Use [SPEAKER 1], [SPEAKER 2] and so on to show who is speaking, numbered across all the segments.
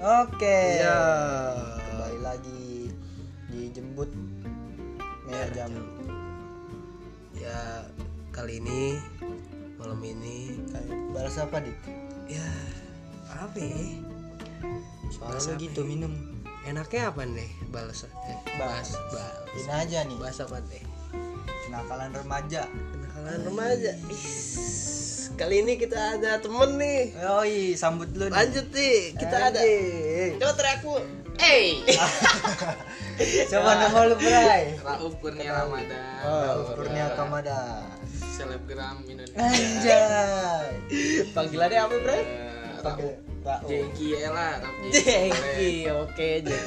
[SPEAKER 1] Oke.
[SPEAKER 2] Iya.
[SPEAKER 1] Kembali lagi dijemput ya,
[SPEAKER 2] Merah
[SPEAKER 1] jam
[SPEAKER 2] Ya kali ini malam ini
[SPEAKER 1] balas apa dit?
[SPEAKER 2] ya apa ya?
[SPEAKER 1] Soalnya
[SPEAKER 2] Balas
[SPEAKER 1] lu
[SPEAKER 2] apa
[SPEAKER 1] gitu
[SPEAKER 2] ya?
[SPEAKER 1] minum.
[SPEAKER 2] Enaknya apa nih balas? Eh,
[SPEAKER 1] Balas.
[SPEAKER 2] balas.
[SPEAKER 1] Ini aja nih.
[SPEAKER 2] Bahas apa nih?
[SPEAKER 1] Kenakalan remaja.
[SPEAKER 2] Kenakalan remaja. Is, kali ini kita ada temen nih.
[SPEAKER 1] Yoi, sambut lu. nih.
[SPEAKER 2] Lanjut nih, kita ada.
[SPEAKER 1] Anjing.
[SPEAKER 2] Coba teriakku. Eh.
[SPEAKER 1] Coba nama lu Bray.
[SPEAKER 3] Rauf Kurnia Ramadan
[SPEAKER 1] Oh, Kurnia Kamada.
[SPEAKER 3] selebgram Indonesia
[SPEAKER 1] Anjay.
[SPEAKER 2] Panggilannya apa, Bro?
[SPEAKER 3] Eh, Rauf
[SPEAKER 1] Pakai Pak U.
[SPEAKER 3] Jengki ya lah Rauf Jengki
[SPEAKER 2] Jengki, oke Jeng.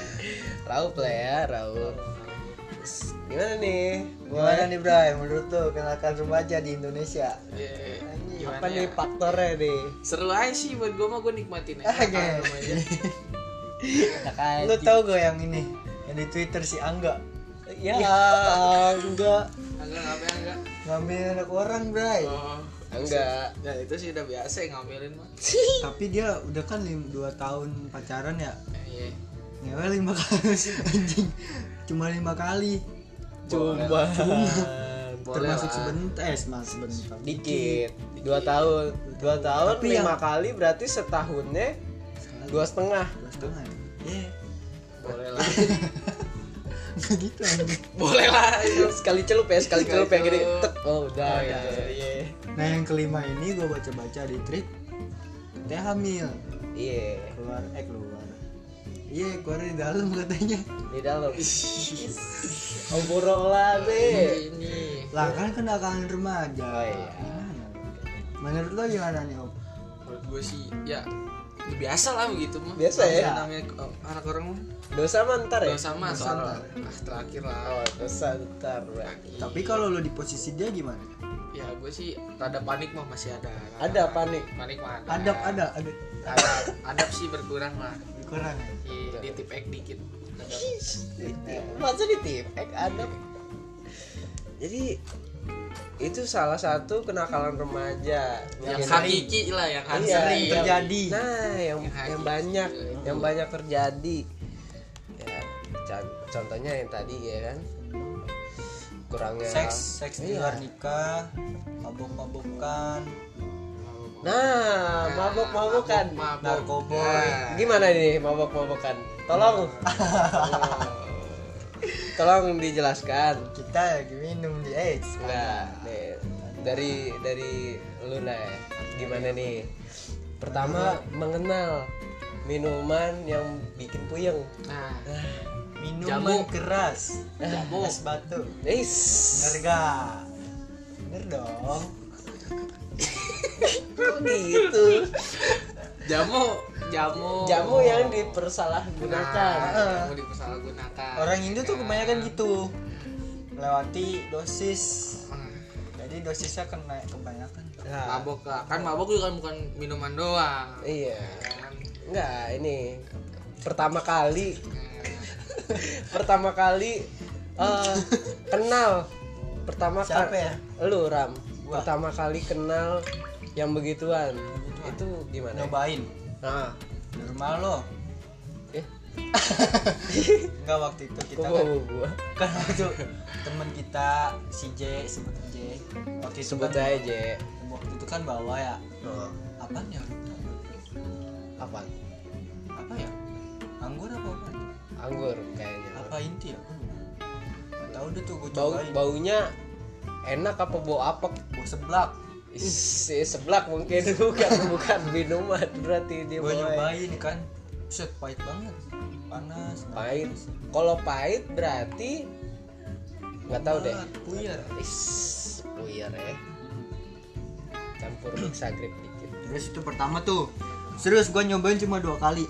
[SPEAKER 2] Raup lah ya, Raup. Terus, Gimana nih?
[SPEAKER 1] Gimana nih Bray? Menurut lu kenakalan remaja di Indonesia?
[SPEAKER 3] Eh,
[SPEAKER 1] Anjing,
[SPEAKER 3] gimana
[SPEAKER 1] Apa nih
[SPEAKER 3] ya?
[SPEAKER 1] faktornya nih?
[SPEAKER 3] seru aja sih buat gue mah gue nikmatin
[SPEAKER 2] iya.
[SPEAKER 3] aja
[SPEAKER 1] Oke.
[SPEAKER 3] Ah, remaja.
[SPEAKER 2] kan,
[SPEAKER 1] Lu tau gak yang ini? Yang di Twitter si Angga. Ya, Angga
[SPEAKER 3] enggak apa ya, enggak
[SPEAKER 1] ngambil anak orang, Bray.
[SPEAKER 3] oh
[SPEAKER 2] Enggak.
[SPEAKER 3] ya itu sih udah biasa ya, ngambilin mah
[SPEAKER 1] Tapi dia udah kan 2 tahun pacaran ya.
[SPEAKER 3] Eh, iya
[SPEAKER 1] Ngewe lima kali anjing. Cuma lima kali.
[SPEAKER 2] Cuma
[SPEAKER 3] Boleh
[SPEAKER 1] termasuk
[SPEAKER 3] lah.
[SPEAKER 1] sebentar, eh, mas sebentar.
[SPEAKER 2] dikit. Dua tahun. Dua tahun
[SPEAKER 1] Tapi
[SPEAKER 2] lima kali berarti setahunnya dua setengah.
[SPEAKER 1] Dua setengah. ya? Iya.
[SPEAKER 3] boleh lah
[SPEAKER 1] Nggak gitu anjing.
[SPEAKER 3] boleh lah itu
[SPEAKER 2] Sekali celup ya, sekali celup ya gini.
[SPEAKER 3] celup.
[SPEAKER 2] Tek. Oh, udah.
[SPEAKER 3] Oh, iya,
[SPEAKER 2] gitu. Iya.
[SPEAKER 1] Nah, yang kelima ini gue baca-baca di tweet Teh hamil
[SPEAKER 2] Iya.
[SPEAKER 1] keluar eh keluar. Iya, keluar di dalam katanya.
[SPEAKER 2] Di dalam. Oh, Obrolan nih.
[SPEAKER 3] ini
[SPEAKER 1] Lah kan kenakalan remaja.
[SPEAKER 2] Oh, iya.
[SPEAKER 1] Gimana? Menurut lo gimana nih, Om?
[SPEAKER 3] menurut gue sih ya udah biasa lah begitu mah
[SPEAKER 2] Biasa ya?
[SPEAKER 3] namanya oh, anak orang mah
[SPEAKER 2] Dosa mantar ya?
[SPEAKER 3] Gak sama
[SPEAKER 1] Dosa
[SPEAKER 3] soal
[SPEAKER 1] ntar.
[SPEAKER 3] ah, terakhir lah
[SPEAKER 2] Oh, dosa mantar. Bang.
[SPEAKER 3] Terakhir.
[SPEAKER 1] Tapi kalau lo di posisi dia gimana?
[SPEAKER 3] ya gue sih rada panik mah masih ada
[SPEAKER 2] Ada panik.
[SPEAKER 3] panik mah ada
[SPEAKER 1] Adab ada, ada
[SPEAKER 3] adab, adab sih berkurang lah
[SPEAKER 1] kurang. ya?
[SPEAKER 3] di, di tip ek dikit Adab.
[SPEAKER 2] Nah. Masa di tim Ek ada Jadi itu salah satu kenakalan remaja
[SPEAKER 3] yang
[SPEAKER 2] Mungkin-
[SPEAKER 3] hakiki lah yang
[SPEAKER 2] Iya,
[SPEAKER 3] asli
[SPEAKER 2] yang-
[SPEAKER 1] terjadi. Hmm.
[SPEAKER 2] Nah, yang
[SPEAKER 3] Yang hakiki.
[SPEAKER 2] yang banyak yang banyak terjadi. Ya, con- contohnya yang tadi ya kan. Kurangnya Iya.
[SPEAKER 1] Seks, seks di luar nikah, mabuk-mabukan,
[SPEAKER 2] Nah,
[SPEAKER 1] Ya,
[SPEAKER 2] mabok-mabokan.
[SPEAKER 3] mabok
[SPEAKER 1] narkoboy.
[SPEAKER 2] Gimana nih mabok-mabokan?
[SPEAKER 1] Oh.
[SPEAKER 2] Tolong. Tolong dijelaskan.
[SPEAKER 1] Kita lagi minum di AIDS.
[SPEAKER 2] Nah, nih, dari dari Luna ya. Gimana nih? Pertama mengenal minuman yang bikin puyeng.
[SPEAKER 3] nah
[SPEAKER 1] Minuman
[SPEAKER 3] Jamu.
[SPEAKER 1] keras,
[SPEAKER 3] Jamu.
[SPEAKER 1] es batu. Bener
[SPEAKER 2] Eis.
[SPEAKER 1] gak? Bener
[SPEAKER 2] Ah.
[SPEAKER 1] dong.
[SPEAKER 2] Kok gitu.
[SPEAKER 3] jamu jamu
[SPEAKER 2] Jamu yang dipersalahgunakan.
[SPEAKER 1] Ah.
[SPEAKER 3] nah, jamu dipersalahgunakan
[SPEAKER 1] Orang Indo tuh kebanyakan gitu. Melewati dosis. Jadi dosisnya kena kebanyakan.
[SPEAKER 2] Nah,
[SPEAKER 3] mabok lah. kan mabok juga kan bukan minuman doang
[SPEAKER 2] Iya.
[SPEAKER 3] kan
[SPEAKER 2] Enggak, ini pertama kali
[SPEAKER 3] kan.
[SPEAKER 2] pertama kali eh, kenal pertama
[SPEAKER 1] Siapa
[SPEAKER 2] kali
[SPEAKER 1] ya?
[SPEAKER 2] lu ram
[SPEAKER 1] Gua.
[SPEAKER 2] pertama kali kenal yang begituan itu gimana
[SPEAKER 1] Nyobain.
[SPEAKER 2] nah
[SPEAKER 1] Di rumah lo.
[SPEAKER 2] eh
[SPEAKER 1] Enggak waktu itu kita
[SPEAKER 2] gua
[SPEAKER 1] kan,
[SPEAKER 2] gua- gua
[SPEAKER 1] kan waktu teman kita si J sebut J. Waktu itu
[SPEAKER 2] sebut
[SPEAKER 1] kan,
[SPEAKER 2] aja Je.
[SPEAKER 1] waktu itu kan bawa ya.
[SPEAKER 2] Nah,
[SPEAKER 1] Apa ya?
[SPEAKER 2] apa
[SPEAKER 1] Apa ya? Anggur apa apa?
[SPEAKER 2] anggur kayaknya
[SPEAKER 1] Apa inti ya? Gua lupa. Nggak tahu deh tuh gue
[SPEAKER 2] bau
[SPEAKER 1] cobain.
[SPEAKER 2] baunya enak apa bau apek
[SPEAKER 1] Bau seblak.
[SPEAKER 2] Ih, seblak mungkin bukan bukan minuman berarti dia
[SPEAKER 1] Gue
[SPEAKER 2] boy.
[SPEAKER 1] nyobain kan. Set pahit banget. Panas.
[SPEAKER 2] pahit kalau pahit berarti nggak tahu deh
[SPEAKER 1] Puyer.
[SPEAKER 2] Is, puyer ya campur mixagrip dikit
[SPEAKER 1] Terus itu pertama tuh. Serius gue nyobain cuma dua kali.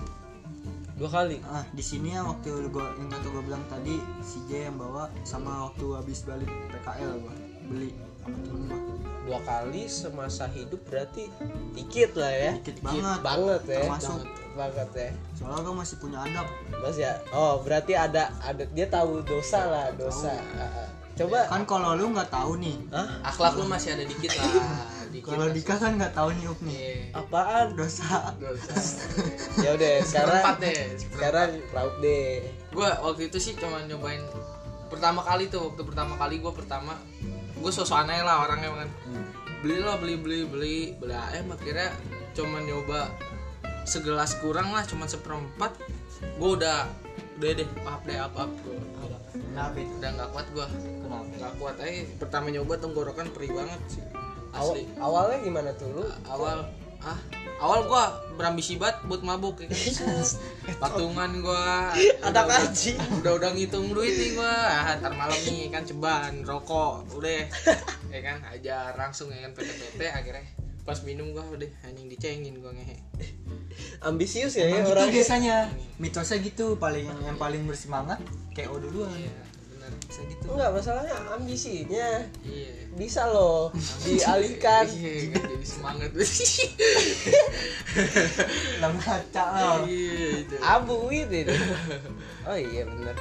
[SPEAKER 2] dua kali
[SPEAKER 1] Ah, di sini ya waktu gua yang kata gua bilang tadi si J yang bawa sama waktu habis balik PKL gua beli sama temen gua.
[SPEAKER 2] dua kali semasa hidup berarti dikit lah ya
[SPEAKER 1] Dikit banget.
[SPEAKER 2] banget ya
[SPEAKER 1] Termasuk.
[SPEAKER 2] Banget- banget ya
[SPEAKER 1] Soalnya gua masih punya adab.
[SPEAKER 2] mas ya oh berarti ada ada dia tahu dosa lah dosa Ah, ah. coba
[SPEAKER 1] Kan kalau lu nggak tahu nih.
[SPEAKER 2] Hah?
[SPEAKER 3] akhlak lu masih ada dikit lah dikit
[SPEAKER 1] kalau
[SPEAKER 3] langsung.
[SPEAKER 1] Dika kan nggak tahu niup nih
[SPEAKER 3] Iya.
[SPEAKER 2] Apaan?
[SPEAKER 1] dosa
[SPEAKER 3] Nggak usah.
[SPEAKER 4] ya udah sekarang
[SPEAKER 3] Seperempat deh. seperempat.
[SPEAKER 4] sekarang laut deh
[SPEAKER 3] gue waktu itu sih cuma nyobain pertama kali tuh waktu pertama kali gue pertama gue sosok aneh lah orangnya kan beli lah beli beli beli beli ayam akhirnya cuma nyoba segelas kurang lah cuma seperempat gue udah udah deh maaf deh up up gue
[SPEAKER 1] kenapa itu
[SPEAKER 3] udah nggak kuat gue
[SPEAKER 1] kenapa
[SPEAKER 3] nggak kuat aja pertama nyoba tenggorokan perih banget sih
[SPEAKER 4] Aw-
[SPEAKER 3] asli
[SPEAKER 4] awalnya gimana tuh lu
[SPEAKER 3] awal ah awal gue berambisi banget buat mabuk ya kan patungan gue
[SPEAKER 2] Ada kaji.
[SPEAKER 3] udah udah ngitung duit nih gua ah, ntar malam nih kan ceban rokok udah ya kan aja langsung ya kan PT-PT akhirnya pas minum gua udah anjing dicengin gua ngehe
[SPEAKER 2] Ambisius ya,
[SPEAKER 1] Emang
[SPEAKER 2] ya
[SPEAKER 1] gitu
[SPEAKER 2] orang.
[SPEAKER 1] biasanya mitosnya gitu paling yang paling bersemangat KO duluan
[SPEAKER 3] iya bener
[SPEAKER 1] bisa gitu
[SPEAKER 2] Enggak, masalahnya ambisinya
[SPEAKER 3] iya
[SPEAKER 2] bisa loh dialihkan.
[SPEAKER 3] iya kan, jadi semangat
[SPEAKER 1] dalam kaca
[SPEAKER 2] Ah.
[SPEAKER 1] lah
[SPEAKER 3] iya itu
[SPEAKER 2] Abu gitu ya. itu.
[SPEAKER 4] oh iya bener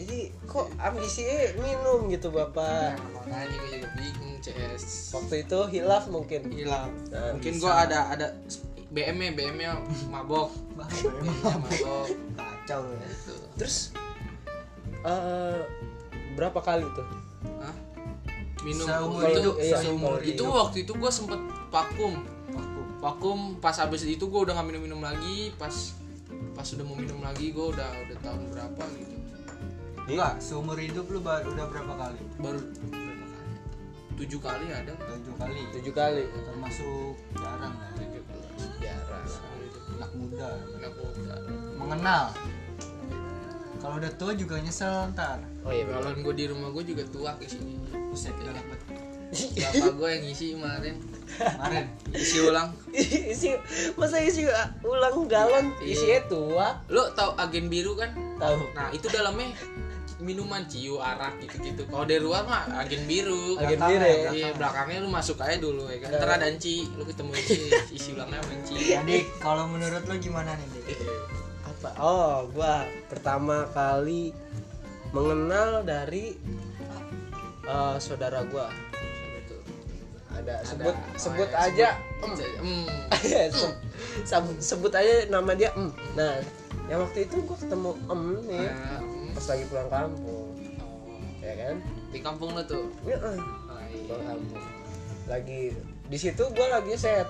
[SPEAKER 2] Jadi kok ambisinya minum gitu Bapak?
[SPEAKER 3] makanya gua juga bingung CS
[SPEAKER 2] Waktu itu hilaf mungkin.
[SPEAKER 1] hilang
[SPEAKER 2] Nah,
[SPEAKER 3] mungkin gua ada ada ya, BM nya BM nya mabok
[SPEAKER 1] bahaya
[SPEAKER 3] BM
[SPEAKER 1] emang
[SPEAKER 3] -nya mabok
[SPEAKER 1] kacau lu ya
[SPEAKER 3] gitu
[SPEAKER 2] Terus eh berapa kali tuh?
[SPEAKER 3] Hah? minum
[SPEAKER 1] Seumur
[SPEAKER 3] itu
[SPEAKER 1] hidup,
[SPEAKER 2] iya,
[SPEAKER 1] seumur
[SPEAKER 2] kalau
[SPEAKER 3] itu
[SPEAKER 1] hidup.
[SPEAKER 3] waktu itu gua sempet vakum
[SPEAKER 1] Aku
[SPEAKER 3] vakum pas habis itu gue udah nggak minum minum lagi pas pas udah mau minum lagi gue udah udah tahun berapa gitu
[SPEAKER 1] enggak seumur hidup lu baru udah berapa kali
[SPEAKER 3] baru berapa kali tujuh kali ada
[SPEAKER 1] tujuh kali
[SPEAKER 2] Tujuh kali.
[SPEAKER 1] termasuk jarang ya
[SPEAKER 3] tujuh kali
[SPEAKER 2] Jarang.
[SPEAKER 1] anak muda
[SPEAKER 3] Anak muda.
[SPEAKER 1] mengenal kalau udah tua juga nyesel ntar
[SPEAKER 2] Oh iya.
[SPEAKER 3] Galon gue di rumah gue juga tua isinya
[SPEAKER 1] buset udah dapet
[SPEAKER 3] Bapak gue yang ngisi kemarin
[SPEAKER 1] kemarin
[SPEAKER 3] Isi ulang
[SPEAKER 2] isi masa isi uh, ulang galon
[SPEAKER 3] Iya.
[SPEAKER 2] isinya tua
[SPEAKER 3] Lo tau agen biru kan?
[SPEAKER 2] tahu
[SPEAKER 3] Nah itu dalamnya minuman ciu arak gitu-gitu Kalau dari luar mah agen biru
[SPEAKER 2] agen
[SPEAKER 1] Belakang
[SPEAKER 2] biru
[SPEAKER 1] ya,
[SPEAKER 2] ya. Iya.
[SPEAKER 3] Iya belakangnya lu masuk aja dulu ya kan Ntar ada Enci, lu ketemu Enci, isi ulangnya sama Enci
[SPEAKER 1] jadi kalau menurut lu gimana nih Dik?
[SPEAKER 2] apa oh gua pertama kali mengenal dari eh, saudara gua
[SPEAKER 3] gitu.
[SPEAKER 2] ada sebut
[SPEAKER 3] oh
[SPEAKER 2] sebut
[SPEAKER 3] ya,
[SPEAKER 2] aja
[SPEAKER 3] sebut aja, em.
[SPEAKER 2] Sem- sam- sebut aja nama dia em nah yang waktu itu gua ketemu em nih
[SPEAKER 3] Nah, em.
[SPEAKER 2] pas lagi pulang kampung
[SPEAKER 3] Oh,
[SPEAKER 2] ya kan
[SPEAKER 3] di kampung lo tuh
[SPEAKER 2] ya, eh,
[SPEAKER 3] oh, iya.
[SPEAKER 2] pulang kampung lagi di situ gua lagi set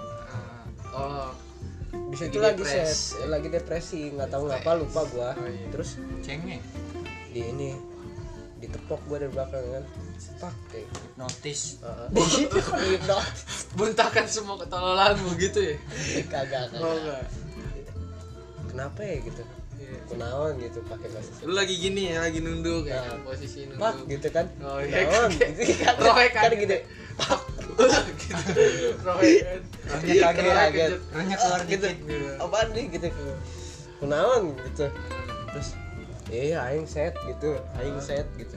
[SPEAKER 3] Ah, oh
[SPEAKER 2] di situ
[SPEAKER 3] Lagi
[SPEAKER 2] lagi
[SPEAKER 3] depres. Oh, iya.
[SPEAKER 2] set lagi depresi nggak tahu ngapa lupa gua terus
[SPEAKER 1] cengeng
[SPEAKER 2] di ini ditepok gua dari belakang kan pak kayak Gitu.
[SPEAKER 1] notice
[SPEAKER 2] uh,
[SPEAKER 3] Gitu.
[SPEAKER 2] dihipnotis
[SPEAKER 3] buntakan semua ketololan begitu ya
[SPEAKER 2] kagak kagak
[SPEAKER 3] oh enggak
[SPEAKER 2] kenapa ya gitu
[SPEAKER 3] Iya.
[SPEAKER 2] kunaon gitu pakai bahasa
[SPEAKER 3] lu lagi gini ya lagi nunduk ya
[SPEAKER 2] Nah.
[SPEAKER 3] posisi nunduk
[SPEAKER 2] pak gitu kan
[SPEAKER 3] Oh, iya,
[SPEAKER 2] kunaon
[SPEAKER 3] kaget.
[SPEAKER 2] gitu kan
[SPEAKER 3] Roek
[SPEAKER 2] kan
[SPEAKER 3] kaget.
[SPEAKER 2] gitu pak
[SPEAKER 3] gitu Roy kan.
[SPEAKER 1] Rohnya kaget,
[SPEAKER 3] Roy
[SPEAKER 2] Iya, kaget.
[SPEAKER 3] kejut.
[SPEAKER 1] Rohnya keluar
[SPEAKER 2] gitu
[SPEAKER 1] dikit
[SPEAKER 3] Iya.
[SPEAKER 2] apaan nih gitu kunaon gitu terus iya aing set gitu aing set gitu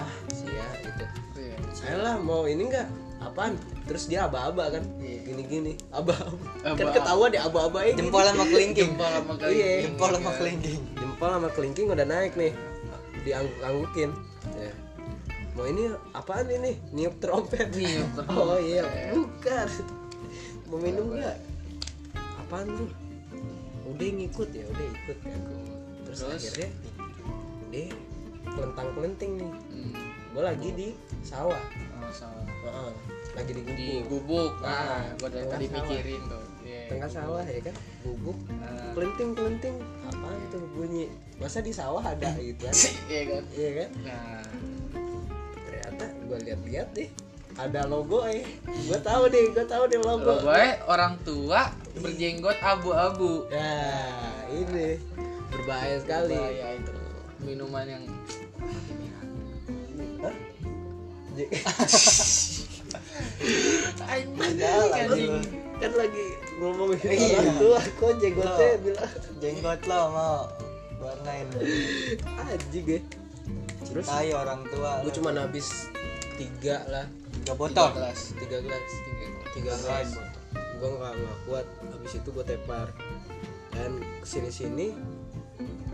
[SPEAKER 2] ah sia gitu
[SPEAKER 3] Iya.
[SPEAKER 2] Ayolah mau ini enggak? Apaan? Terus dia aba-aba kan?
[SPEAKER 3] Iya.
[SPEAKER 2] Gini-gini, aba-aba. Kan
[SPEAKER 3] Aba-aba.
[SPEAKER 2] ketawa dia aba-abain. gitu.
[SPEAKER 1] jempol sama kelingking
[SPEAKER 3] jempol sama kali
[SPEAKER 2] Iya.
[SPEAKER 1] jempol sama kelingking
[SPEAKER 2] Jempol sama kelingking udah naik nih. Dianggukin. Ya. Mau ini apaan ini? Niup trompet.
[SPEAKER 3] Niup trompet.
[SPEAKER 2] Oh iya, bukan. Mau minum enggak? Apaan tuh? Udah ngikut ya, udah ikut ya. Terus,
[SPEAKER 3] Terus?
[SPEAKER 2] akhirnya dia kelentang-kelenting nih.
[SPEAKER 3] Hmm,
[SPEAKER 2] Gue lagi di sawah.
[SPEAKER 1] Oh, salah.
[SPEAKER 2] Heeh. Lagi di
[SPEAKER 3] di
[SPEAKER 2] gubuk.
[SPEAKER 3] gubuk nah
[SPEAKER 2] Nah,
[SPEAKER 3] gua dari
[SPEAKER 2] tengah
[SPEAKER 3] tadi
[SPEAKER 2] sawah.
[SPEAKER 3] mikirin tuh Iya. Ah,
[SPEAKER 2] tengah sawah ya kan gubuk
[SPEAKER 1] Eh,
[SPEAKER 2] kelenting kelenting apaan tuh bunyi masa di sawah ada gitu kan
[SPEAKER 3] iya kan
[SPEAKER 2] iya kan
[SPEAKER 3] nah
[SPEAKER 2] ternyata gue lihat-lihat deh ada logo eh gue tahu deh gue tahu deh logo
[SPEAKER 3] Kalau gue orang tua berjenggot abu-abu.
[SPEAKER 2] ya ini berbahaya sekali
[SPEAKER 3] Bahaya iya itu minuman yang
[SPEAKER 2] Hah? J-
[SPEAKER 3] anjing anjing.
[SPEAKER 2] kan lagi ngomongin orang tua kok jenggotnya bilang
[SPEAKER 1] jenggot lo mau warnain
[SPEAKER 2] anjing ya terus
[SPEAKER 1] tai orang tua
[SPEAKER 2] gue
[SPEAKER 1] lu
[SPEAKER 2] cuma habis tiga lah
[SPEAKER 1] Tiga botol
[SPEAKER 2] tiga gelas tiga gelas tiga, tiga gelas gue nggak nggak kuat habis itu gue tepar dan kesini sini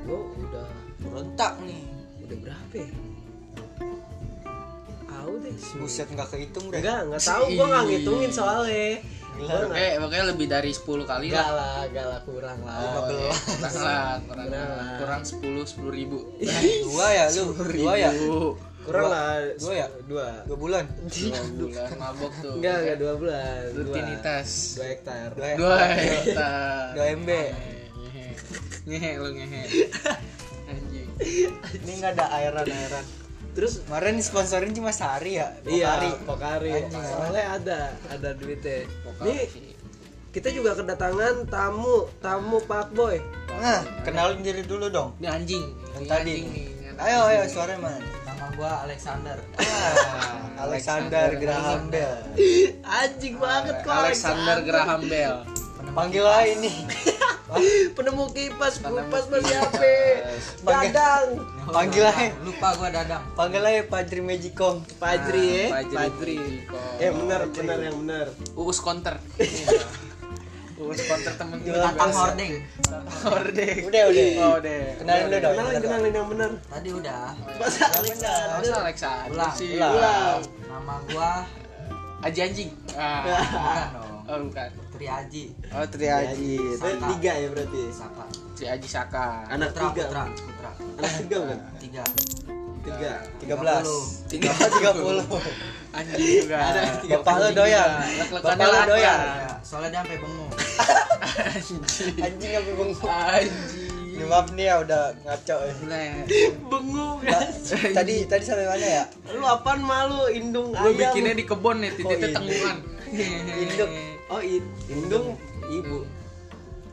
[SPEAKER 2] gue udah
[SPEAKER 1] berontak nih
[SPEAKER 2] udah berapa ya? Aun deh
[SPEAKER 1] buset nggak kehitung deh
[SPEAKER 2] enggak enggak tahu gua nggak ngitungin soalnya
[SPEAKER 1] Gila.
[SPEAKER 2] gua nggak
[SPEAKER 3] Oke, pokoknya lebih dari 10 kali
[SPEAKER 2] enggak
[SPEAKER 3] lah.
[SPEAKER 2] lah enggak lah kurang lah
[SPEAKER 3] Oh,
[SPEAKER 1] Lima
[SPEAKER 2] Iya.
[SPEAKER 1] belas.
[SPEAKER 3] Kurang lah, kurang,
[SPEAKER 2] Nah.
[SPEAKER 3] kurang 10, 10 ribu.
[SPEAKER 2] Iya,
[SPEAKER 1] dua ya lu dua ya
[SPEAKER 2] kurang
[SPEAKER 1] Dua.
[SPEAKER 2] lah
[SPEAKER 1] Dua ya?
[SPEAKER 2] dua
[SPEAKER 1] dua bulan
[SPEAKER 3] Dua bulan mabok tuh.
[SPEAKER 2] Iya. enggak enggak dua bulan dua.
[SPEAKER 3] Rutinitas.
[SPEAKER 2] dua hektar
[SPEAKER 1] dua
[SPEAKER 3] Dua hektar.
[SPEAKER 1] dua mb
[SPEAKER 3] Ngehe. Ngehe lu ngehe. Anjing.
[SPEAKER 1] ini nggak ada airan airan
[SPEAKER 2] terus
[SPEAKER 1] kemarin sponsorin cuma sehari ya Dua
[SPEAKER 2] iya
[SPEAKER 1] hari.
[SPEAKER 2] pokari
[SPEAKER 1] Anjing.
[SPEAKER 2] soalnya ada ada duitnya
[SPEAKER 3] Pokari.
[SPEAKER 2] nih kita juga kedatangan tamu tamu Pak Boy
[SPEAKER 1] nah kenalin diri dulu dong
[SPEAKER 3] Ini anjing.
[SPEAKER 1] Yang
[SPEAKER 3] Ini
[SPEAKER 1] tadi.
[SPEAKER 3] anjing nih.
[SPEAKER 1] ayo ayo Ah, suara mana
[SPEAKER 3] Nama gua Alexander.
[SPEAKER 1] Alexander Graham Bell
[SPEAKER 2] anjing banget kok
[SPEAKER 3] Alexander Graham Bell.
[SPEAKER 1] panggil lah ini
[SPEAKER 2] penemu kipas kupas masih HP dadang
[SPEAKER 1] panggil lah
[SPEAKER 3] Lupa gua Dadang. Ah,
[SPEAKER 1] panggil lah Padri Magicom eh,
[SPEAKER 2] Pajri ya
[SPEAKER 3] Nah, Fajri.
[SPEAKER 2] Pajri
[SPEAKER 3] Kok.
[SPEAKER 2] eh benar benar yang benar
[SPEAKER 3] Uus counter. Uus counter temen gue.
[SPEAKER 5] Tatang hordeng.
[SPEAKER 3] Hordeng.
[SPEAKER 1] udah udah
[SPEAKER 3] Oh deh.
[SPEAKER 1] kenalin dulu dong
[SPEAKER 2] kenalin kenalin yang benar
[SPEAKER 5] Tadi udah.
[SPEAKER 3] Gak usah Alexander
[SPEAKER 5] Ulang,
[SPEAKER 3] sih.
[SPEAKER 2] ulang.
[SPEAKER 5] Nama gua
[SPEAKER 3] Aji anjing. Ah.
[SPEAKER 5] bukan dong.
[SPEAKER 3] Oh bukan.
[SPEAKER 5] Tri Aji.
[SPEAKER 3] Oh Triaji.
[SPEAKER 2] Berarti tiga ya berarti
[SPEAKER 5] Saka.
[SPEAKER 3] Triaji Saka.
[SPEAKER 2] anak
[SPEAKER 5] Putra,
[SPEAKER 2] tiga
[SPEAKER 5] putra, putra.
[SPEAKER 2] anak tiga bukan
[SPEAKER 5] Tiga.
[SPEAKER 2] tiga
[SPEAKER 1] tiga belas
[SPEAKER 3] Tiga.
[SPEAKER 1] tiga puluh
[SPEAKER 3] Anjing juga.
[SPEAKER 1] bapak lo doyan
[SPEAKER 3] Lek-lekannya
[SPEAKER 1] bapak lo
[SPEAKER 3] lapar.
[SPEAKER 1] doyan
[SPEAKER 5] Ya, soalnya dia sampai bengong.
[SPEAKER 3] Anjing.
[SPEAKER 1] anjing apa bengong
[SPEAKER 3] Anjing.
[SPEAKER 1] Ini maaf nih ya udah ngaco ya.
[SPEAKER 3] Bengong.
[SPEAKER 1] tadi tadi sampai mana ya
[SPEAKER 2] lu apaan malu indung
[SPEAKER 3] Gue
[SPEAKER 2] ayam
[SPEAKER 3] bikinnya di kebon nih, titiknya
[SPEAKER 1] Oh,
[SPEAKER 3] tenggungan.
[SPEAKER 1] induk
[SPEAKER 2] oh i- indung
[SPEAKER 1] ibu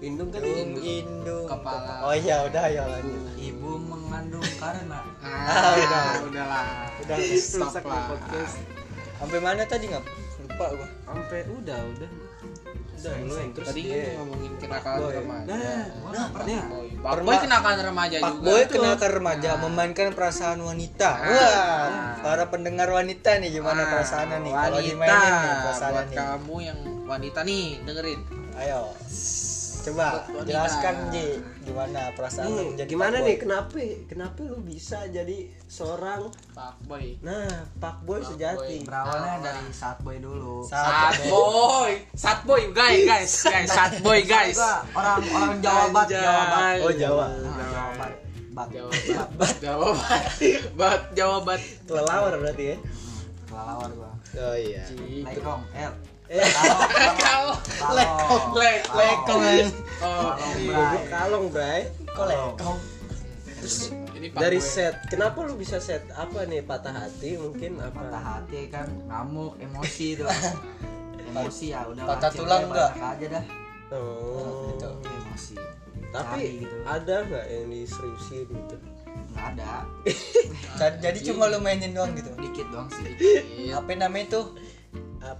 [SPEAKER 2] indung kan
[SPEAKER 1] Indung,
[SPEAKER 2] indung
[SPEAKER 1] indung,
[SPEAKER 3] Kepala.
[SPEAKER 1] Oh iya, udah ya lanjut.
[SPEAKER 5] Ibu mengandung karena
[SPEAKER 3] Ah,
[SPEAKER 1] udah.
[SPEAKER 3] udahlah.
[SPEAKER 1] Udah
[SPEAKER 3] Stop
[SPEAKER 2] Rusak nih
[SPEAKER 3] lah.
[SPEAKER 2] podcast.
[SPEAKER 1] sampai mana tadi nggak? Lupa gua.
[SPEAKER 2] sampai udah udah udah lu yang terus
[SPEAKER 3] Tadi kan ngomongin kenakalan
[SPEAKER 2] Boy.
[SPEAKER 3] remaja.
[SPEAKER 2] nah nah nih
[SPEAKER 3] Boy. Pak Boy kenakalan remaja
[SPEAKER 1] Pak
[SPEAKER 3] juga. Ah,
[SPEAKER 1] Boy kenal ke remaja
[SPEAKER 5] Nah.
[SPEAKER 1] memainkan perasaan wanita.
[SPEAKER 5] Ah.
[SPEAKER 1] Wah, para pendengar wanita nih gimana
[SPEAKER 3] Ah,
[SPEAKER 1] perasaannya nih? Kalau
[SPEAKER 3] Wanita.
[SPEAKER 1] dimainin nih perasaannya
[SPEAKER 3] Buat
[SPEAKER 1] nih.
[SPEAKER 3] kamu yang wanita nih, dengerin.
[SPEAKER 1] Ayo. Coba
[SPEAKER 3] Buat wanita.
[SPEAKER 1] jelaskan Ji gimana perasaan lu
[SPEAKER 2] Nih,
[SPEAKER 1] menjadi
[SPEAKER 2] Hmm, gimana
[SPEAKER 1] Pak Boy?
[SPEAKER 2] nih kenapa kenapa lu bisa jadi seorang
[SPEAKER 3] Pak Boy.
[SPEAKER 2] nah pak boy sejati
[SPEAKER 1] Ah.
[SPEAKER 5] berawalnya dari saat boy dulu.
[SPEAKER 1] Saat
[SPEAKER 3] Sat Boy. Sat Boy, guys, guys, guys. Sat Boy, guys.
[SPEAKER 5] Gua orang orang Jawa Bat, Jawa Bat.
[SPEAKER 1] Oh Jawa.
[SPEAKER 5] Nah, Jawa Bat. Bat.
[SPEAKER 3] Jawaban, jawaban, bat, jawaban.
[SPEAKER 2] kelelawar berarti ya
[SPEAKER 5] Kelawar gua.
[SPEAKER 2] oh iya
[SPEAKER 5] Lekong, El.
[SPEAKER 2] Eh.
[SPEAKER 3] Kau,
[SPEAKER 5] Lekong.
[SPEAKER 3] lek, lek,
[SPEAKER 1] eh.
[SPEAKER 3] oh,
[SPEAKER 2] Goblok kalong bray
[SPEAKER 5] Lekong.
[SPEAKER 3] ini Pak
[SPEAKER 2] dari
[SPEAKER 3] Boy.
[SPEAKER 2] set kenapa lu bisa set apa nih patah hati mungkin
[SPEAKER 5] patah
[SPEAKER 2] apa
[SPEAKER 5] hati kan ngamuk emosi tuh emosi ya udah
[SPEAKER 1] Patah tulang nggak?
[SPEAKER 5] enggak aja dah
[SPEAKER 2] oh
[SPEAKER 1] Gitu.
[SPEAKER 5] emosi Cari
[SPEAKER 2] tapi
[SPEAKER 5] gitu
[SPEAKER 2] ada nggak yang diseriusin gitu
[SPEAKER 5] nggak ada
[SPEAKER 1] Jadi, jadi cuma lu mainin doang gitu.
[SPEAKER 5] dikit doang sih
[SPEAKER 1] Apa namanya itu?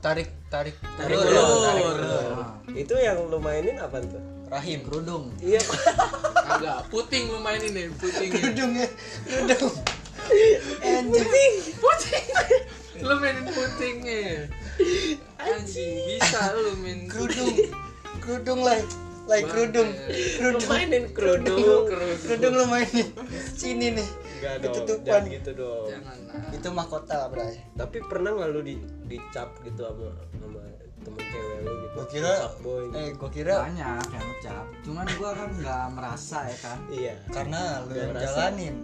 [SPEAKER 1] Tarik tarik
[SPEAKER 2] Tarik
[SPEAKER 1] ulur.
[SPEAKER 2] ulur.
[SPEAKER 1] Tarik ulur.
[SPEAKER 5] Nah,
[SPEAKER 2] itu yang lu mainin apa tuh
[SPEAKER 1] Rahim.
[SPEAKER 5] kerudung
[SPEAKER 2] iya
[SPEAKER 3] agak puting lu mainin deh, puting. ya.
[SPEAKER 1] Kerudungnya, kerudung.
[SPEAKER 2] anjing
[SPEAKER 3] Puting. lu mainin putingnya. Anjing, bisa lu main
[SPEAKER 1] Kerudung. Kerudung lah. Lah kerudung.
[SPEAKER 2] lu mainin
[SPEAKER 3] Lu
[SPEAKER 2] kerudung
[SPEAKER 3] kerudung.
[SPEAKER 1] Kerudung lu mainin. Sini nih.
[SPEAKER 2] enggak dong
[SPEAKER 1] Ketutupan.
[SPEAKER 2] jangan gitu dong
[SPEAKER 3] Jangan lah.
[SPEAKER 1] Itu mahkota lah, Bray.
[SPEAKER 2] tapi pernah nggak lu di, dicap gitu sama sama temen cewek lu gitu
[SPEAKER 1] Gua kira
[SPEAKER 2] boy gitu.
[SPEAKER 1] eh gua kira
[SPEAKER 5] banyak yang ngecap cuman gua kan nggak merasa ya kan
[SPEAKER 2] iya
[SPEAKER 1] karena lu
[SPEAKER 2] Gak
[SPEAKER 1] yang
[SPEAKER 2] ngerasa.
[SPEAKER 1] jalanin.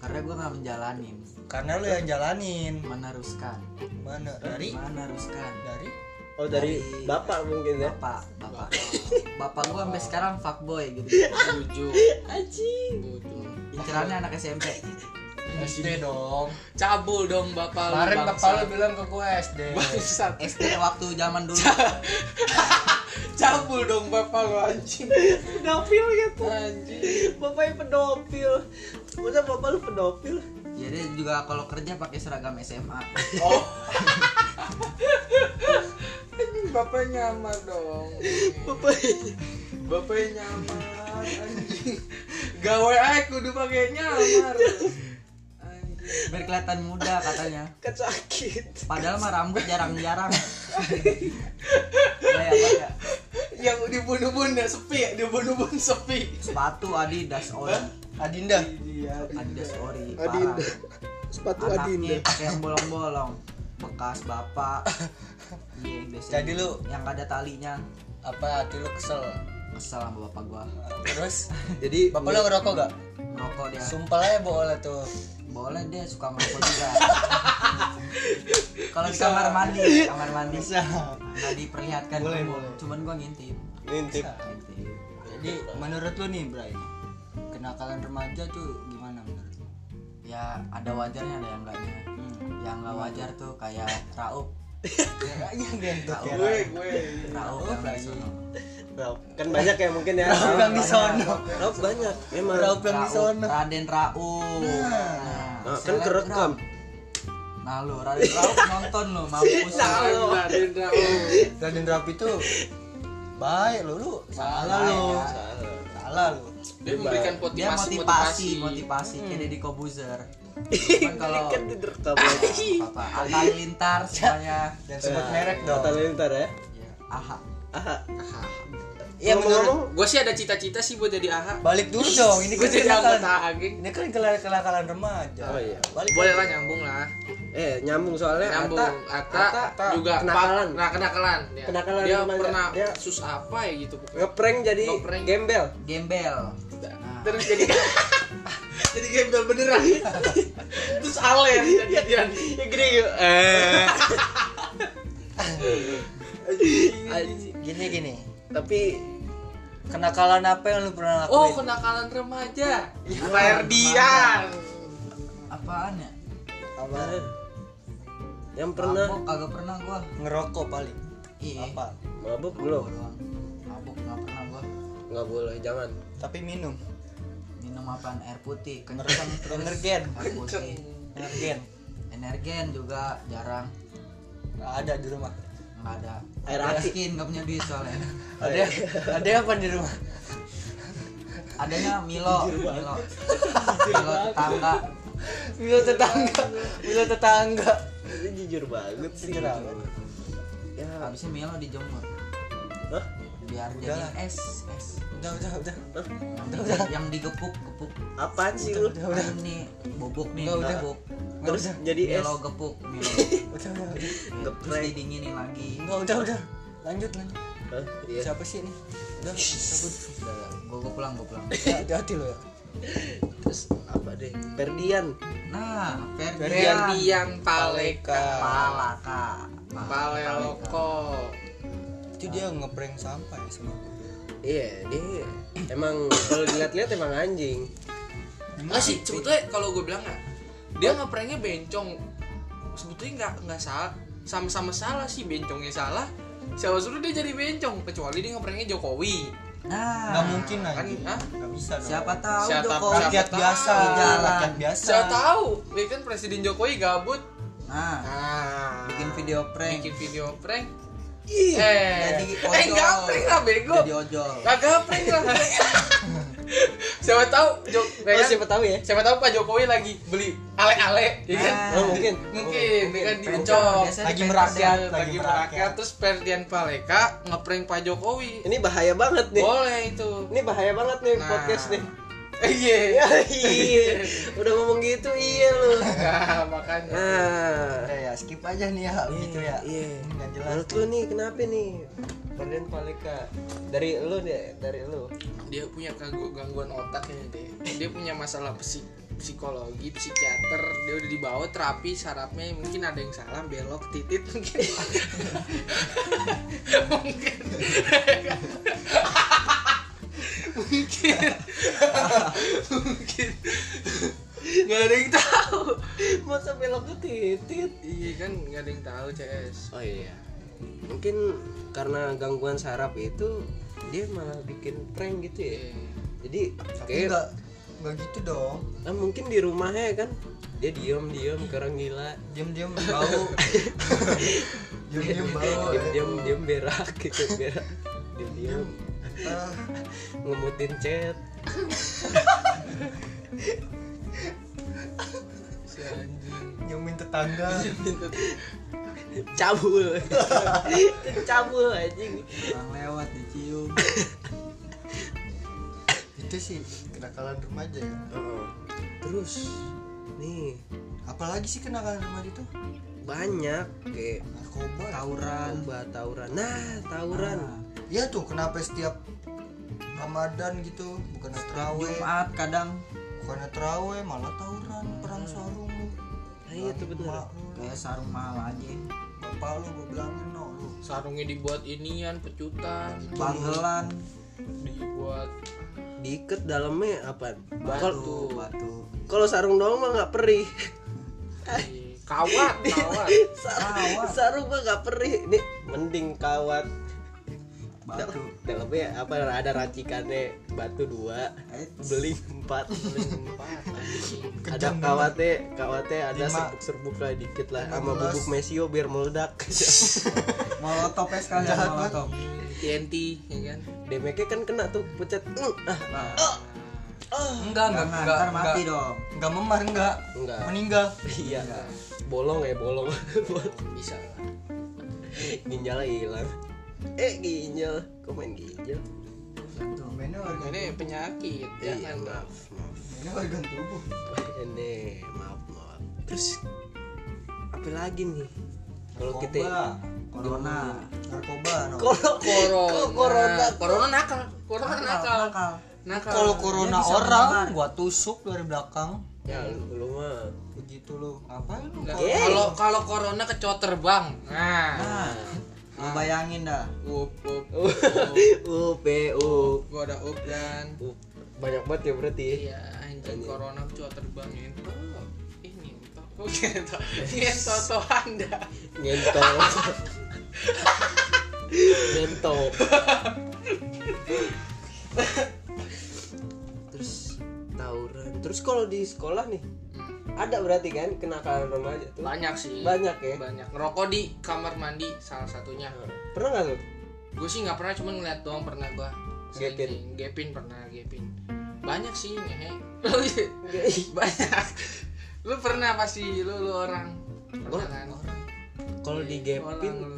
[SPEAKER 5] karena gua nggak menjalanin
[SPEAKER 1] Karena lu yang jalanin.
[SPEAKER 5] meneruskan
[SPEAKER 1] Mana dari
[SPEAKER 5] meneruskan
[SPEAKER 1] dari
[SPEAKER 2] oh dari
[SPEAKER 5] Dari-
[SPEAKER 2] bapak mungkin ya
[SPEAKER 5] bapak bapak bapak gua sampai sekarang fuckboy gitu
[SPEAKER 3] Bujuk.
[SPEAKER 2] anjing
[SPEAKER 3] Bujuk.
[SPEAKER 5] incerannya anak SMP
[SPEAKER 1] SD dong.
[SPEAKER 3] Cabul dong bapak lu.
[SPEAKER 1] Kemarin
[SPEAKER 3] bangsa.
[SPEAKER 1] bapak lu bilang ke gua SD.
[SPEAKER 3] Bangsat.
[SPEAKER 5] SD waktu zaman dulu
[SPEAKER 3] Cabul dong bapak lu anjing.
[SPEAKER 2] pedofil gitu
[SPEAKER 3] Anjing.
[SPEAKER 2] bapaknya pedofil masa bapak lu pedofil
[SPEAKER 5] jadi juga kalau kerja pakai seragam SMA
[SPEAKER 3] Oh. Anjing bapak nyamar dong.
[SPEAKER 2] bapak
[SPEAKER 3] Bapak nyamar anjing. Gawe ae kudu pakai nyamar. Anjing.
[SPEAKER 5] biar kelihatan muda katanya
[SPEAKER 2] kan sakit
[SPEAKER 5] padahal mah rambut jarang-jarang Apa ya, apa ya?
[SPEAKER 3] Yang dibunuh-bunuh sepi, ya? dibunuh-bunuh sepi.
[SPEAKER 5] sepatu Adidas ori Iya,
[SPEAKER 1] Adinda.
[SPEAKER 5] Adidas ori
[SPEAKER 2] Adidas.
[SPEAKER 5] parah.
[SPEAKER 2] sepatu gitu.
[SPEAKER 5] anaknya pakai yang bolong-bolong
[SPEAKER 1] bekas bapak iya biasanya
[SPEAKER 4] Jadi lu-
[SPEAKER 1] yang nggak ada talinya
[SPEAKER 4] apa hati lu kesel
[SPEAKER 1] kesel sama bapak gua
[SPEAKER 4] terus
[SPEAKER 2] jadi Nah.
[SPEAKER 4] bapak lu ngerokok gak
[SPEAKER 1] merokok dia
[SPEAKER 4] sumpah lah ya bohong lah tuh
[SPEAKER 1] boleh dia suka merokok juga kalau di kamar mandi kamar mandi nggak diperlihatkan
[SPEAKER 5] Boleh,
[SPEAKER 1] cuman-
[SPEAKER 5] boleh.
[SPEAKER 1] cuman gua ngintip
[SPEAKER 4] ngintip
[SPEAKER 1] Ngintip. Iya. jadi menurut lu nih Bray kenakalan remaja tuh gimana menurut lu?
[SPEAKER 5] ya ada wajarnya ada yang enggaknya
[SPEAKER 1] Hmm. Iya,
[SPEAKER 5] yang nggak wajar tuh kayak raup
[SPEAKER 4] kayaknya gendut
[SPEAKER 5] raup
[SPEAKER 2] gue gue
[SPEAKER 5] raup yang di sono.
[SPEAKER 2] Rob. kan banyak ya mungkin ya
[SPEAKER 4] Rob yang di sono.
[SPEAKER 2] Rob banyak memang
[SPEAKER 4] Rob yang di
[SPEAKER 1] Raup,
[SPEAKER 4] sono
[SPEAKER 1] Raden Raup nah,
[SPEAKER 2] Nah, kan kerekam
[SPEAKER 1] nah lu Raden Raup nonton lu mampus lu.
[SPEAKER 4] Nah, Raden Rapi tuh baik lu lu salah
[SPEAKER 1] Baik,
[SPEAKER 4] lu
[SPEAKER 1] ya.
[SPEAKER 4] salah lu
[SPEAKER 3] Dia memberikan
[SPEAKER 1] dia
[SPEAKER 3] motivasi
[SPEAKER 1] motivasi motivasi
[SPEAKER 4] Hmm.
[SPEAKER 1] kayak Deddy Kobuzer cuman kalau
[SPEAKER 2] kan direkam lagi
[SPEAKER 1] apa Atta Lintar semuanya
[SPEAKER 4] dan sebut merek dong
[SPEAKER 2] Kata lintar
[SPEAKER 1] ya,
[SPEAKER 2] ya
[SPEAKER 1] aha
[SPEAKER 2] aha Ya,
[SPEAKER 4] Iya,
[SPEAKER 2] ngomong-ngomong
[SPEAKER 3] Gue sih ada cita-cita sih buat jadi AHA.
[SPEAKER 4] balik dulu dong ini
[SPEAKER 3] Gue
[SPEAKER 4] kan
[SPEAKER 3] jadi anggota
[SPEAKER 4] kenakalan
[SPEAKER 3] AHA, geng.
[SPEAKER 4] ini kan kelak- kenakalan remaja
[SPEAKER 2] Oh, iya.
[SPEAKER 4] balik
[SPEAKER 3] Boleh lah nyambung lah.
[SPEAKER 2] eh nyambung soalnya
[SPEAKER 3] Nyambung.
[SPEAKER 2] Ata
[SPEAKER 3] Ata,
[SPEAKER 2] Ata
[SPEAKER 3] juga
[SPEAKER 2] kenakalan.
[SPEAKER 3] Pak- Nah, kenakalan. Dia,
[SPEAKER 2] Kenakalan
[SPEAKER 3] dia
[SPEAKER 2] remaja.
[SPEAKER 3] pernah
[SPEAKER 2] Dia- Ah.
[SPEAKER 3] sus apa ya gitu pokoknya.
[SPEAKER 2] ngeprank jadi
[SPEAKER 3] Ngeprank.
[SPEAKER 2] gembel
[SPEAKER 1] gembel
[SPEAKER 3] Terus jadi jadi gembel beneran. Terus alen jadian.
[SPEAKER 2] ya gini yuk eh
[SPEAKER 4] gini gini
[SPEAKER 2] tapi
[SPEAKER 4] kenakalan apa yang lu pernah lakuin
[SPEAKER 3] Oh, kenakalan remaja. Ferdian.
[SPEAKER 1] apaan ya
[SPEAKER 4] Apaan?
[SPEAKER 2] Oh, yang pernah
[SPEAKER 1] mabok kagak pernah gua
[SPEAKER 4] ngerokok paling
[SPEAKER 1] iya
[SPEAKER 4] apa
[SPEAKER 2] mabuk belum
[SPEAKER 1] doang mabok nggak pernah gua
[SPEAKER 2] nggak boleh jangan
[SPEAKER 4] tapi minum
[SPEAKER 1] minum apaan air putih kenceng terus
[SPEAKER 4] energen
[SPEAKER 1] air putih
[SPEAKER 4] energen
[SPEAKER 1] energen juga jarang
[SPEAKER 4] Nggak ada di rumah
[SPEAKER 1] nggak ada
[SPEAKER 2] Air
[SPEAKER 1] Nggak
[SPEAKER 2] aki.
[SPEAKER 1] miskin nggak punya duit soalnya
[SPEAKER 4] ada ada apa di rumah
[SPEAKER 1] adanya Milo Milo Milo tetangga
[SPEAKER 4] bila tetangga bila tetangga
[SPEAKER 2] itu jujur banget sih
[SPEAKER 4] Jujur amat.
[SPEAKER 2] ya
[SPEAKER 1] habisnya Milo dijemur
[SPEAKER 2] Hah?
[SPEAKER 1] biar jadi es es
[SPEAKER 4] udah udah udah
[SPEAKER 1] yang, di- yang digepuk gepuk
[SPEAKER 2] apaan sih lu
[SPEAKER 1] udah nih bobok Gitu. nih
[SPEAKER 4] Nggak, udah.
[SPEAKER 1] bobok
[SPEAKER 4] nggak
[SPEAKER 2] terus
[SPEAKER 4] usah
[SPEAKER 2] jadi es
[SPEAKER 1] Milo gepuk Milo gepuk.
[SPEAKER 4] udah udah udah
[SPEAKER 1] terus
[SPEAKER 2] ngeprank
[SPEAKER 1] didinginin lagi
[SPEAKER 4] Nggak, udah udah lanjut lanjut
[SPEAKER 2] Hah? Iya.
[SPEAKER 4] siapa sih ini udah cabut
[SPEAKER 1] udah udah. gua gua pulang gua pulang
[SPEAKER 4] Ya, hati-hati lo ya
[SPEAKER 2] terus apa deh Perdian
[SPEAKER 1] nah Ferdian
[SPEAKER 3] Ferdian Paleka.
[SPEAKER 1] Palaka
[SPEAKER 3] Paleloko.
[SPEAKER 4] itu dia ngeprank sampah ya sama gue
[SPEAKER 2] iya dia emang kalau dilihat-lihat emang anjing
[SPEAKER 3] Enggak sih, sebetulnya kalau gue bilang ya, dia ngepranknya bencong. Sebetulnya nggak nggak salah, sama-sama salah sih bencongnya salah. Siapa suruh dia jadi bencong kecuali dia ngepranknya Jokowi.
[SPEAKER 4] nggak
[SPEAKER 1] nah
[SPEAKER 4] mungkin lah
[SPEAKER 3] Kan,
[SPEAKER 4] gitu.
[SPEAKER 3] hah?
[SPEAKER 4] nggak bisa dong
[SPEAKER 1] siapa tahu
[SPEAKER 3] Siapa-
[SPEAKER 1] Jokowi
[SPEAKER 4] rakyat
[SPEAKER 3] Siapa
[SPEAKER 4] biasa Iya,
[SPEAKER 1] tahu? Jalan.
[SPEAKER 4] rakyat biasa
[SPEAKER 3] Saya tahu, ya kan Presiden Jokowi gabut.
[SPEAKER 1] nah
[SPEAKER 3] Nah,
[SPEAKER 1] bikin video prank
[SPEAKER 3] bikin video prank. Eh,
[SPEAKER 4] Ih,
[SPEAKER 1] jadi
[SPEAKER 3] eh
[SPEAKER 1] ojol.
[SPEAKER 3] nggak prank lah bego.
[SPEAKER 1] jadi ojol
[SPEAKER 3] Kagak prank lah. siapa tahu Jok, ya
[SPEAKER 2] oh,
[SPEAKER 3] kan?
[SPEAKER 2] siapa tahu ya
[SPEAKER 3] siapa tahu Pak Jokowi lagi beli ale-ale, ya kan?
[SPEAKER 1] Nah,
[SPEAKER 2] oh, mungkin
[SPEAKER 3] mungkin kan
[SPEAKER 4] mungkin.
[SPEAKER 3] dengan
[SPEAKER 4] Pengen
[SPEAKER 3] diucok
[SPEAKER 1] biasanya
[SPEAKER 4] lagi
[SPEAKER 1] di
[SPEAKER 4] merakyat
[SPEAKER 3] lagi, merakyat
[SPEAKER 4] lagi merakyat
[SPEAKER 3] terus Ferdian Paleka ngeprank Pak Jokowi
[SPEAKER 2] ini bahaya banget nih
[SPEAKER 3] boleh itu
[SPEAKER 2] ini bahaya banget nih
[SPEAKER 3] Nah.
[SPEAKER 2] podcast nih
[SPEAKER 3] iya
[SPEAKER 2] iya udah ngomong gitu iya lu
[SPEAKER 3] nah, makanya
[SPEAKER 2] nah
[SPEAKER 4] udah ya skip aja nih ya gitu ya
[SPEAKER 2] iya
[SPEAKER 4] nggak jelas
[SPEAKER 2] menurut lu nih kenapa nih Perdian Paleka dari lu deh dari lu
[SPEAKER 3] dia punya ganggu- gangguan otak ini deh dia punya masalah psik psikologi psikiater dia udah dibawa terapi sarafnya mungkin ada yang salah belok titit mungkin mungkin mungkin mungkin nggak ada yang tahu
[SPEAKER 2] masa belok ke titit
[SPEAKER 3] iya kan nggak ada yang tahu cs
[SPEAKER 2] oh iya mungkin karena gangguan saraf itu dia malah bikin prank gitu ya jadi
[SPEAKER 4] tapi
[SPEAKER 2] kayak
[SPEAKER 4] nggak nggak gitu dong
[SPEAKER 2] nah, mungkin di rumahnya kan dia diem diem kerang gila
[SPEAKER 4] diam-diam bau
[SPEAKER 1] Iya,
[SPEAKER 4] diam-diam bau
[SPEAKER 2] diem diem diem berak gitu berak diem
[SPEAKER 1] iya.
[SPEAKER 2] diem
[SPEAKER 4] Ah.
[SPEAKER 2] ngemutin chat
[SPEAKER 3] si anjing
[SPEAKER 4] nyiumin tetangga
[SPEAKER 2] cabul cabul anjing
[SPEAKER 1] orang lewat dicium
[SPEAKER 4] itu sih kenakalan remaja ya
[SPEAKER 2] terus nih
[SPEAKER 4] apalagi sih kenakalan remaja itu
[SPEAKER 2] banyak kayak
[SPEAKER 5] narkoba
[SPEAKER 1] tawuran
[SPEAKER 2] obat tawuran nah tawuran
[SPEAKER 1] Nah,
[SPEAKER 5] ya tuh kenapa setiap Ramadan gitu bukan terawih
[SPEAKER 1] Jumat kadang
[SPEAKER 5] bukan terawih malah tawuran perang sarung lu
[SPEAKER 2] nah, itu bener
[SPEAKER 5] Mak lu,
[SPEAKER 1] kayak sarung mahal aja
[SPEAKER 5] bapak lu gue bilangin no lu
[SPEAKER 3] sarungnya dibuat inian pecutan
[SPEAKER 1] panggelan
[SPEAKER 3] dibuat
[SPEAKER 2] diikat dalamnya apa
[SPEAKER 3] batu
[SPEAKER 1] tuh batu
[SPEAKER 2] kalau sarung doang mah nggak perih
[SPEAKER 3] di- eh, kawat kawat
[SPEAKER 2] sarung, sarung mah nggak perih ini mending kawat
[SPEAKER 1] batu
[SPEAKER 2] dalamnya apa ada racikannya batu dua
[SPEAKER 1] eh
[SPEAKER 2] beli empat beli empat ada
[SPEAKER 5] Kejam
[SPEAKER 2] kawatnya kawatnya ada
[SPEAKER 1] Lima.
[SPEAKER 2] serbuk serbuk lah dikit lah
[SPEAKER 5] Lima
[SPEAKER 2] sama
[SPEAKER 5] belas.
[SPEAKER 2] bubuk mesio biar meledak
[SPEAKER 1] molotov ya sekalian
[SPEAKER 5] Jahat banget.
[SPEAKER 1] molotov
[SPEAKER 3] TNT ya kan
[SPEAKER 2] demeknya kan kena tuh pucat Mm, ah
[SPEAKER 1] nah,
[SPEAKER 5] enggak enggak
[SPEAKER 1] jangan
[SPEAKER 5] enggak
[SPEAKER 1] ntar mati
[SPEAKER 5] enggak,
[SPEAKER 1] dong
[SPEAKER 5] enggak memar enggak
[SPEAKER 2] enggak
[SPEAKER 5] meninggal
[SPEAKER 2] iya bolong ya bolong
[SPEAKER 3] bisa lah.
[SPEAKER 2] ginjalnya hilang eh ginjal kok main ginjal
[SPEAKER 5] mainnya organ
[SPEAKER 3] Nah, ini penyakit ya kan?
[SPEAKER 2] iya
[SPEAKER 3] jangan lah
[SPEAKER 2] maaf maaf
[SPEAKER 5] mainnya organ tubuh
[SPEAKER 2] ini maaf maaf terus apa lagi nih kalau kita
[SPEAKER 1] Narkoba, corona
[SPEAKER 5] narkoba no
[SPEAKER 2] kalau
[SPEAKER 3] corona
[SPEAKER 2] corona.
[SPEAKER 3] corona nakal corona nakal nakal
[SPEAKER 5] kalau corona
[SPEAKER 1] bisa
[SPEAKER 5] orang
[SPEAKER 1] menular.
[SPEAKER 5] gua tusuk dari belakang
[SPEAKER 2] ya lu, lu mah
[SPEAKER 5] begitu lu ngapain lu
[SPEAKER 3] Nggak,
[SPEAKER 2] Yeay.
[SPEAKER 3] kalau kalau corona kecoter bang nah
[SPEAKER 1] nah lu bayangin dah
[SPEAKER 3] up up
[SPEAKER 2] Oh. up up
[SPEAKER 3] gua ada up dan
[SPEAKER 2] up banyak banget ya berarti ya?
[SPEAKER 3] iya anjing corona kecoter bang ngentot Oh, ini ngentot Oh, ngentot ngentot tuh anda
[SPEAKER 2] nyentol nyentol terus tawuran terus kalau di sekolah nih
[SPEAKER 3] Hmm,
[SPEAKER 2] ada berarti kan kenakalan remaja tuh
[SPEAKER 3] banyak sih
[SPEAKER 2] banyak ya
[SPEAKER 3] banyak ngerokok di kamar mandi salah satunya
[SPEAKER 2] pernah nggak tuh
[SPEAKER 3] gue sih nggak pernah cuman ngeliat doang pernah gue
[SPEAKER 2] Gepin.
[SPEAKER 3] gepin pernah gepin banyak sih ngehe banyak lu pernah pasti lu, lu orang pernah kan
[SPEAKER 2] kalau di
[SPEAKER 3] orang
[SPEAKER 2] gapin
[SPEAKER 3] lu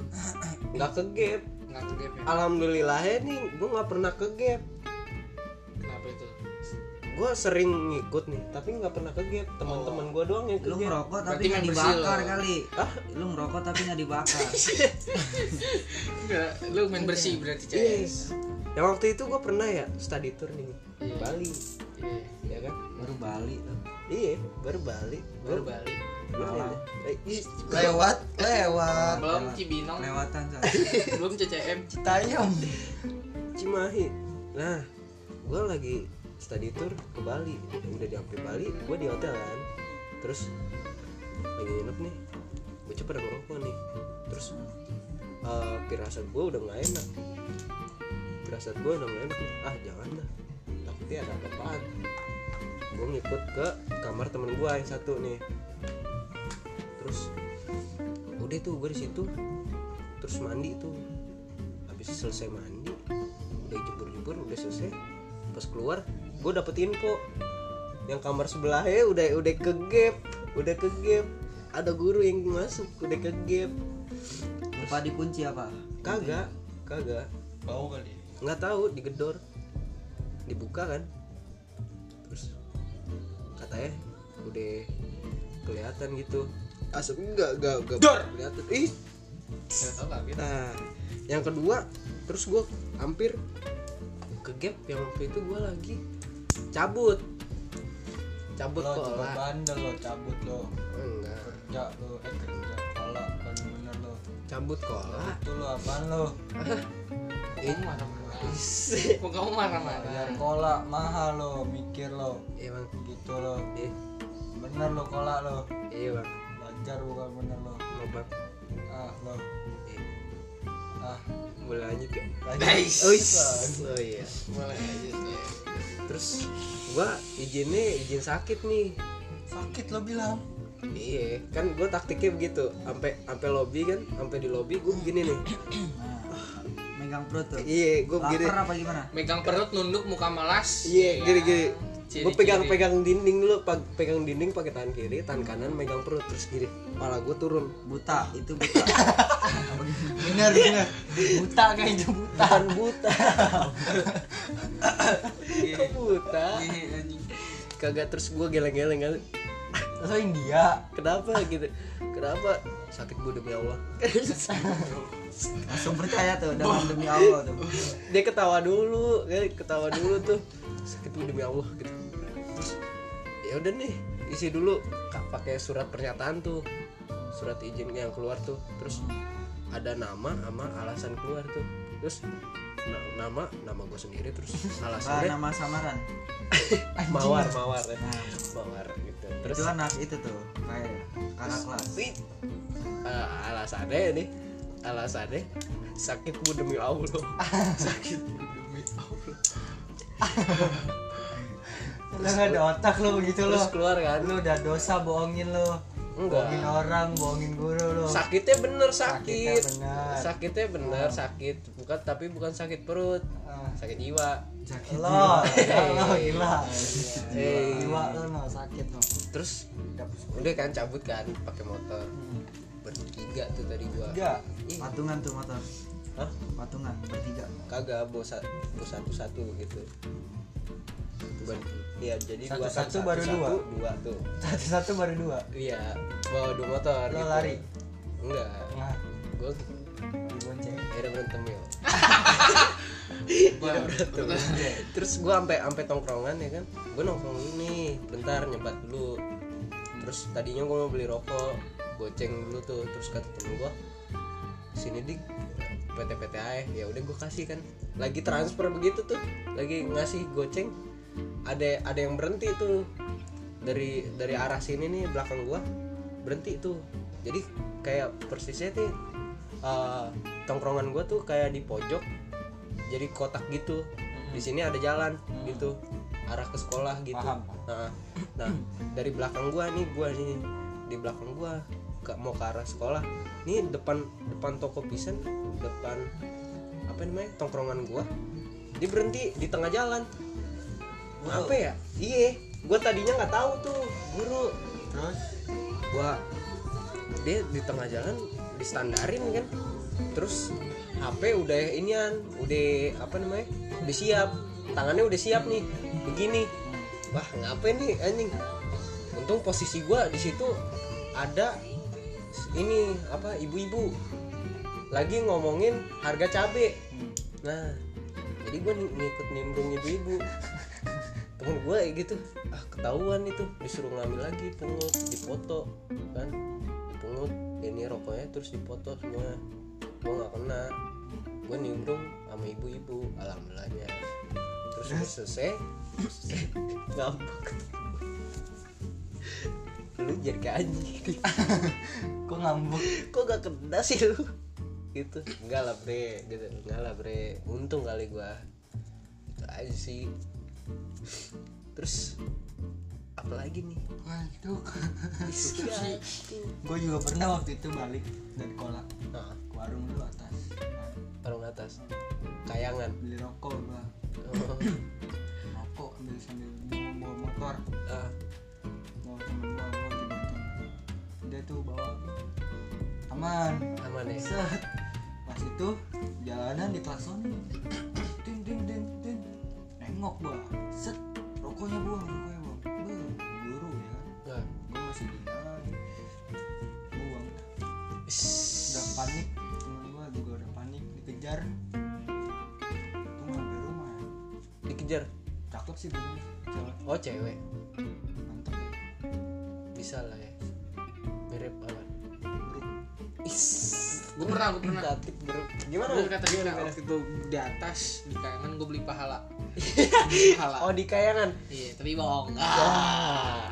[SPEAKER 2] nggak ke gap
[SPEAKER 3] nggak ke gap
[SPEAKER 2] Ah.
[SPEAKER 3] ya
[SPEAKER 2] alhamdulillahnya nih gue nggak pernah ke gap
[SPEAKER 3] kenapa itu
[SPEAKER 2] gue sering ngikut nih tapi nggak pernah ke gap teman-teman gue doang yang ke
[SPEAKER 5] Iya.
[SPEAKER 1] lu
[SPEAKER 2] gap
[SPEAKER 1] ngerokok tapi
[SPEAKER 3] Berarti
[SPEAKER 1] nggak
[SPEAKER 3] membersil.
[SPEAKER 1] dibakar kali
[SPEAKER 2] Hah?
[SPEAKER 1] lu ngerokok tapi nggak dibakar
[SPEAKER 3] Enggak, lu main bersih berarti ya? cewek
[SPEAKER 2] yes yang waktu itu gue pernah ya study tour nih di
[SPEAKER 3] Iya.
[SPEAKER 2] Bali ya kan
[SPEAKER 1] baru balik tuh
[SPEAKER 2] iya baru Bali ya.
[SPEAKER 3] baru balik
[SPEAKER 1] Malang.
[SPEAKER 2] Eh, iya.
[SPEAKER 5] lewat
[SPEAKER 2] Ah,
[SPEAKER 5] lewat
[SPEAKER 3] belum Cibinong
[SPEAKER 1] lewatan coy
[SPEAKER 3] belum CCM
[SPEAKER 5] Citayam
[SPEAKER 2] Cimahi nah gue lagi study tour ke Bali udah nyampe Bali gue di hotel kan terus lagi nginep nih gue cepet ngerokok nih terus eh pirasat gue udah nggak enak pirasat gue udah nggak enak nih ah jangan dah takutnya ada apaan gue ngikut ke kamar temen gue yang satu nih terus udah tuh gue di situ terus mandi tuh habis selesai mandi udah jebur-jebur udah selesai pas keluar gue dapet info yang kamar sebelahnya udah udah ke gap udah ke gap ada guru yang masuk udah ke gap
[SPEAKER 1] lupa dikunci apa
[SPEAKER 2] kagak kagak
[SPEAKER 5] bau kali
[SPEAKER 2] nggak tahu digedor dibuka kan terus katanya udah kelihatan gitu asap enggak enggak enggak kelihatan ih Nah, yang kedua, terus gue hampir ke gap yang waktu itu gue lagi cabut, cabut
[SPEAKER 5] lo
[SPEAKER 1] Oh,
[SPEAKER 2] ke
[SPEAKER 5] coba
[SPEAKER 2] kolam.
[SPEAKER 5] bandel lo cabut lo
[SPEAKER 2] Enggak,
[SPEAKER 5] kerja lo eh kerja kolak bener-bener lo
[SPEAKER 2] cabut kolam.
[SPEAKER 5] itu lo apaan lo
[SPEAKER 3] Kok kamu marah-marah kok kamu marah-marah
[SPEAKER 5] bayar kolak mahal lo mikir lo
[SPEAKER 2] Iya bang,
[SPEAKER 5] gitu lo
[SPEAKER 2] iya,
[SPEAKER 5] bener lo kolak lo
[SPEAKER 2] iya bang,
[SPEAKER 5] belajar bukan bener lo
[SPEAKER 2] mau bang,
[SPEAKER 5] ah lo
[SPEAKER 2] Iya.
[SPEAKER 5] ah Gitu.
[SPEAKER 2] boleh lanjut gak?
[SPEAKER 5] Guys.
[SPEAKER 2] Oh iya.
[SPEAKER 3] boleh aja sih
[SPEAKER 2] Terus gue izinnya izin sakit nih.
[SPEAKER 5] sakit lo bilang
[SPEAKER 2] Iya, kan gue taktiknya begitu. Sampai sampai lobby kan, sampai di lobby gue begini nih.
[SPEAKER 1] nah, megang perut tuh
[SPEAKER 2] Iya, gue begini.
[SPEAKER 1] lapar apa gimana
[SPEAKER 3] megang perut nunduk muka malas
[SPEAKER 2] Iya,
[SPEAKER 3] Ya,
[SPEAKER 2] gini-gini. Gue
[SPEAKER 3] ciri-ciri.
[SPEAKER 2] pegang-pegang dinding dulu, pag- pegang dinding pakai tangan kiri, tangan kanan megang perut terus gini. Kepala gue turun.
[SPEAKER 1] buta itu buta
[SPEAKER 5] bener bener buta kayaknya buta
[SPEAKER 2] Tahan buta. Kok buta.
[SPEAKER 3] Iya, anjing.
[SPEAKER 2] Kagak terus gue geleng-geleng kan.
[SPEAKER 1] lo India
[SPEAKER 2] kenapa gitu kenapa sakit gue demi Allah
[SPEAKER 1] langsung percaya tuh dengan demi Allah tuh
[SPEAKER 2] dia ketawa dulu dia ketawa dulu tuh sakit gue demi Allah gitu terus ya udah nih isi dulu Kak, pakai surat pernyataan tuh surat izin yang keluar tuh terus ada nama sama alasan keluar tuh terus na- nama nama gue sendiri terus
[SPEAKER 1] Nah,
[SPEAKER 2] alasannya
[SPEAKER 1] nama samaran
[SPEAKER 2] mawar mawar ya.
[SPEAKER 1] nah,
[SPEAKER 2] mawar gitu terus
[SPEAKER 1] itu anak itu tuh kayak kakak kelas
[SPEAKER 2] Wih. Eh, alasannya nih alasannya sakit gue demi Allah
[SPEAKER 3] sakit demi Allah
[SPEAKER 1] lo nggak ada otak lo begitu lo
[SPEAKER 2] terus keluar kan
[SPEAKER 1] lo udah dosa bohongin lo
[SPEAKER 2] Enggak.
[SPEAKER 1] bohongin orang bohongin guru lo
[SPEAKER 2] sakitnya bener sakit
[SPEAKER 1] Sakitnya bener. Oh.
[SPEAKER 2] sakitnya bener sakit bukan tapi bukan sakit perut
[SPEAKER 1] Ah.
[SPEAKER 2] sakit jiwa
[SPEAKER 1] sakit lo lo
[SPEAKER 2] Hey.
[SPEAKER 1] gila
[SPEAKER 2] Hey.
[SPEAKER 1] jiwa lo no sakit no
[SPEAKER 2] terus udah kan cabut kan pakai motor bertiga tuh tadi gua
[SPEAKER 1] enggak
[SPEAKER 2] Iya.
[SPEAKER 1] Hmm. patungan tuh motor
[SPEAKER 2] Hah?
[SPEAKER 1] patungan bertiga
[SPEAKER 2] kagak bos satu satu gitu Ber- iya jadi
[SPEAKER 1] Satu-satu
[SPEAKER 2] gua kan
[SPEAKER 1] baru dua.
[SPEAKER 2] satu, dua tuh
[SPEAKER 1] satu satu baru dua
[SPEAKER 2] iya bawa dua motor
[SPEAKER 1] Lo
[SPEAKER 2] gitu.
[SPEAKER 1] lari?
[SPEAKER 2] enggak
[SPEAKER 1] nah
[SPEAKER 2] gua
[SPEAKER 1] dibonceng
[SPEAKER 2] akhirnya berantem ya
[SPEAKER 3] Gua-
[SPEAKER 2] terus gue sampai sampai tongkrongan ya kan gue nongkrong dulu nih bentar nyebat dulu terus tadinya gue mau beli rokok goceng dulu tuh terus kata temen gue sini dik PT PT ya udah gue kasih kan lagi transfer begitu tuh lagi ngasih goceng ada ada yang berhenti tuh dari dari arah sini nih belakang gua berhenti tuh jadi kayak persisnya tuh eh, tongkrongan gua tuh kayak di pojok jadi kotak gitu di sini ada jalan gitu arah ke sekolah gitu
[SPEAKER 1] Paham.
[SPEAKER 2] nah, nah dari belakang gua nih gua nih di belakang gua ke, mau ke arah sekolah nih depan depan toko pisan depan apa namanya tongkrongan gua dia berhenti di tengah jalan apa ya iya gua tadinya nggak tahu tuh guru
[SPEAKER 1] terus
[SPEAKER 2] gua dia di tengah jalan distandarin kan terus HP udah inian udah apa namanya udah siap tangannya udah siap nih begini wah ngapain nih anjing untung posisi gua di situ ada ini apa ibu-ibu lagi ngomongin harga cabe nah jadi gua ng- ngikut nimbrung ibu-ibu temen gue gitu ah ketahuan itu disuruh ngambil lagi pungut dipoto kan dipungut ini rokoknya terus dipoto semua gue nggak kena gue nimbrung sama ibu-ibu alhamdulillahnya terus udah selesai selesai, ngambek lu jadi kayak anjing
[SPEAKER 1] kok ngambek
[SPEAKER 2] kok gak kena sih lu gitu enggak lah bre gitu enggak lah bre untung kali gua itu aja sih terus apalagi nih
[SPEAKER 1] wah itu
[SPEAKER 2] Isya.
[SPEAKER 1] gue juga pernah waktu itu balik dari kolak
[SPEAKER 2] nah,
[SPEAKER 1] ke warung dulu atas
[SPEAKER 2] warung atas kayangan
[SPEAKER 1] beli rokok gua
[SPEAKER 2] Oh,
[SPEAKER 1] rokok ambil sambil bawa motor
[SPEAKER 2] ah,
[SPEAKER 1] bawa temen gua gua dibonceng dia tuh bawa aman
[SPEAKER 2] aman ya
[SPEAKER 1] set pas itu jalanan di klaksonin ding ding ding ding nengok gua set rokoknya buang rokoknya buang Beuh, buru ya kan
[SPEAKER 2] Nah,
[SPEAKER 1] gua masih bingung buang
[SPEAKER 2] iss.
[SPEAKER 1] udah panik temen gua juga udah panik dikejar tuh sampai rumah ya.
[SPEAKER 2] dikejar
[SPEAKER 1] cakep sih dulu cewek
[SPEAKER 2] oh cewek
[SPEAKER 1] mantep ya.
[SPEAKER 2] bisa lah ya mirip aman
[SPEAKER 1] Bro.
[SPEAKER 2] is
[SPEAKER 3] Gua pernah, gua pernah.
[SPEAKER 2] Datik, bro. gimana
[SPEAKER 3] Gua kata dia
[SPEAKER 2] Gimana?
[SPEAKER 3] waktu itu di atas di kayangan gue beli pahala Beli pahala
[SPEAKER 2] oh di kayangan
[SPEAKER 3] iya tapi bohong ah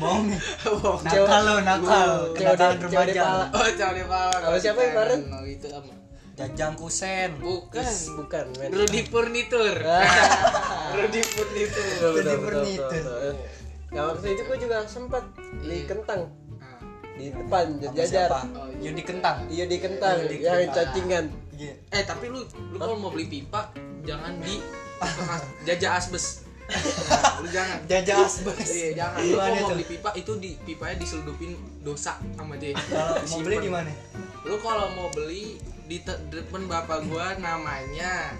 [SPEAKER 1] bohong nih
[SPEAKER 3] bohong
[SPEAKER 1] nakal lo nakal
[SPEAKER 2] Cewek-
[SPEAKER 1] kenakalan
[SPEAKER 2] cewek
[SPEAKER 1] remaja
[SPEAKER 2] pala.
[SPEAKER 3] oh cari pahala
[SPEAKER 2] Sama siapa yang
[SPEAKER 3] Kayangan,
[SPEAKER 2] bareng?
[SPEAKER 3] oh, itu sama
[SPEAKER 1] jajang kusen
[SPEAKER 3] bukan
[SPEAKER 2] Is, Kan bukan men Ah.
[SPEAKER 3] Rudi Furnitur Rudi
[SPEAKER 2] Betul,
[SPEAKER 3] Furnitur
[SPEAKER 2] betul,
[SPEAKER 1] Jadi
[SPEAKER 2] betul,
[SPEAKER 1] bernitur.
[SPEAKER 2] betul, betul. Ya waktu itu gue juga sempat di
[SPEAKER 3] Iya.
[SPEAKER 2] kentang
[SPEAKER 3] Ah,
[SPEAKER 2] di depan
[SPEAKER 1] Sama
[SPEAKER 2] jajar.
[SPEAKER 1] siapa?
[SPEAKER 3] Oh, iya.
[SPEAKER 1] Yudi Kentang
[SPEAKER 2] Iya di kentang
[SPEAKER 1] Iya, di
[SPEAKER 2] yang
[SPEAKER 1] kentang.
[SPEAKER 2] cacingan.
[SPEAKER 1] iya
[SPEAKER 3] eh tapi lu lu kalau mau beli pipa jangan di bekas- jajah asbes Nah, lu jangan
[SPEAKER 1] jajah asbes
[SPEAKER 3] Iya, jangan. Lu
[SPEAKER 1] Gimana
[SPEAKER 3] kalau mau
[SPEAKER 1] tuh?
[SPEAKER 3] beli pipa itu di pipanya diseludupin dosa sama dia.
[SPEAKER 1] kalau mau
[SPEAKER 3] Disimpan.
[SPEAKER 1] beli gimana
[SPEAKER 3] Lu kalau mau beli di te- depan bapak gua namanya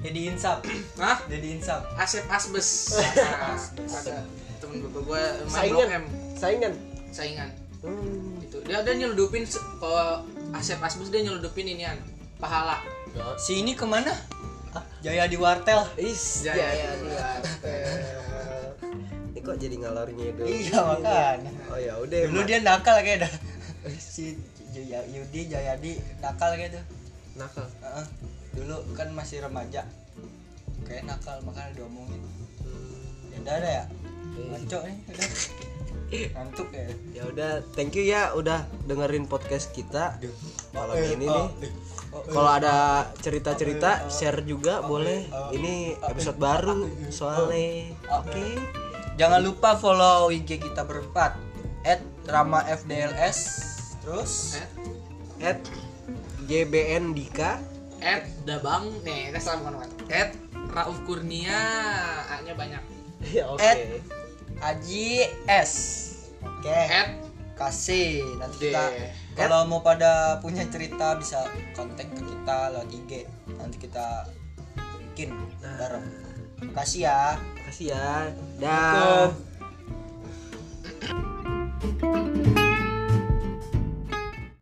[SPEAKER 1] jadi insap
[SPEAKER 3] Hah?
[SPEAKER 1] jadi insap
[SPEAKER 3] Asep Asbes. Nah, ada tem- temen bapak gue main
[SPEAKER 6] Saingan.
[SPEAKER 3] blok M
[SPEAKER 6] Saingan.
[SPEAKER 3] saingan
[SPEAKER 6] Hmm.
[SPEAKER 3] gitu dia dia nyeludupin se- ke Asep Asmus dia nyeludupin inian pahala
[SPEAKER 1] Si ini kemana? Jaya di wartel.
[SPEAKER 6] Is.
[SPEAKER 1] Ya,
[SPEAKER 3] Jaya,
[SPEAKER 6] Jaya.
[SPEAKER 2] ya, Ini kok jadi ngalornya dulu.
[SPEAKER 1] Iya makan.
[SPEAKER 2] Oh ya udah.
[SPEAKER 1] Dulu
[SPEAKER 2] Mak.
[SPEAKER 1] dia nakal kayak dah. Si Jaya Yudi Jayadi nakal kayak tuh.
[SPEAKER 6] Nakal.
[SPEAKER 1] Heeh. Dulu kan masih remaja. Kayak nakal makanya diomongin. Ya udah ada ya. Ngaco nih ya udah. Ngantuk ya.
[SPEAKER 2] Ya udah, thank you ya udah dengerin podcast kita malam
[SPEAKER 1] Oh, iya.
[SPEAKER 2] ini nih. Kalau ada cerita-cerita share juga boleh. Ini episode baru soalnya. Oke.
[SPEAKER 1] Jangan lupa follow IG kita berempat @ramafdls terus
[SPEAKER 2] At JBN Dika.
[SPEAKER 3] at dabang nih kita salam kawan at Rauf Kurnia A nya banyak
[SPEAKER 2] Ya oke.
[SPEAKER 1] At- Aji S. Oke.
[SPEAKER 3] at
[SPEAKER 1] kasih nanti kita
[SPEAKER 3] Deh.
[SPEAKER 1] kalau mau pada punya cerita bisa kontak ke kita lewat IG nanti kita bikin bareng. Makasih ya.
[SPEAKER 2] Makasih ya. Dah.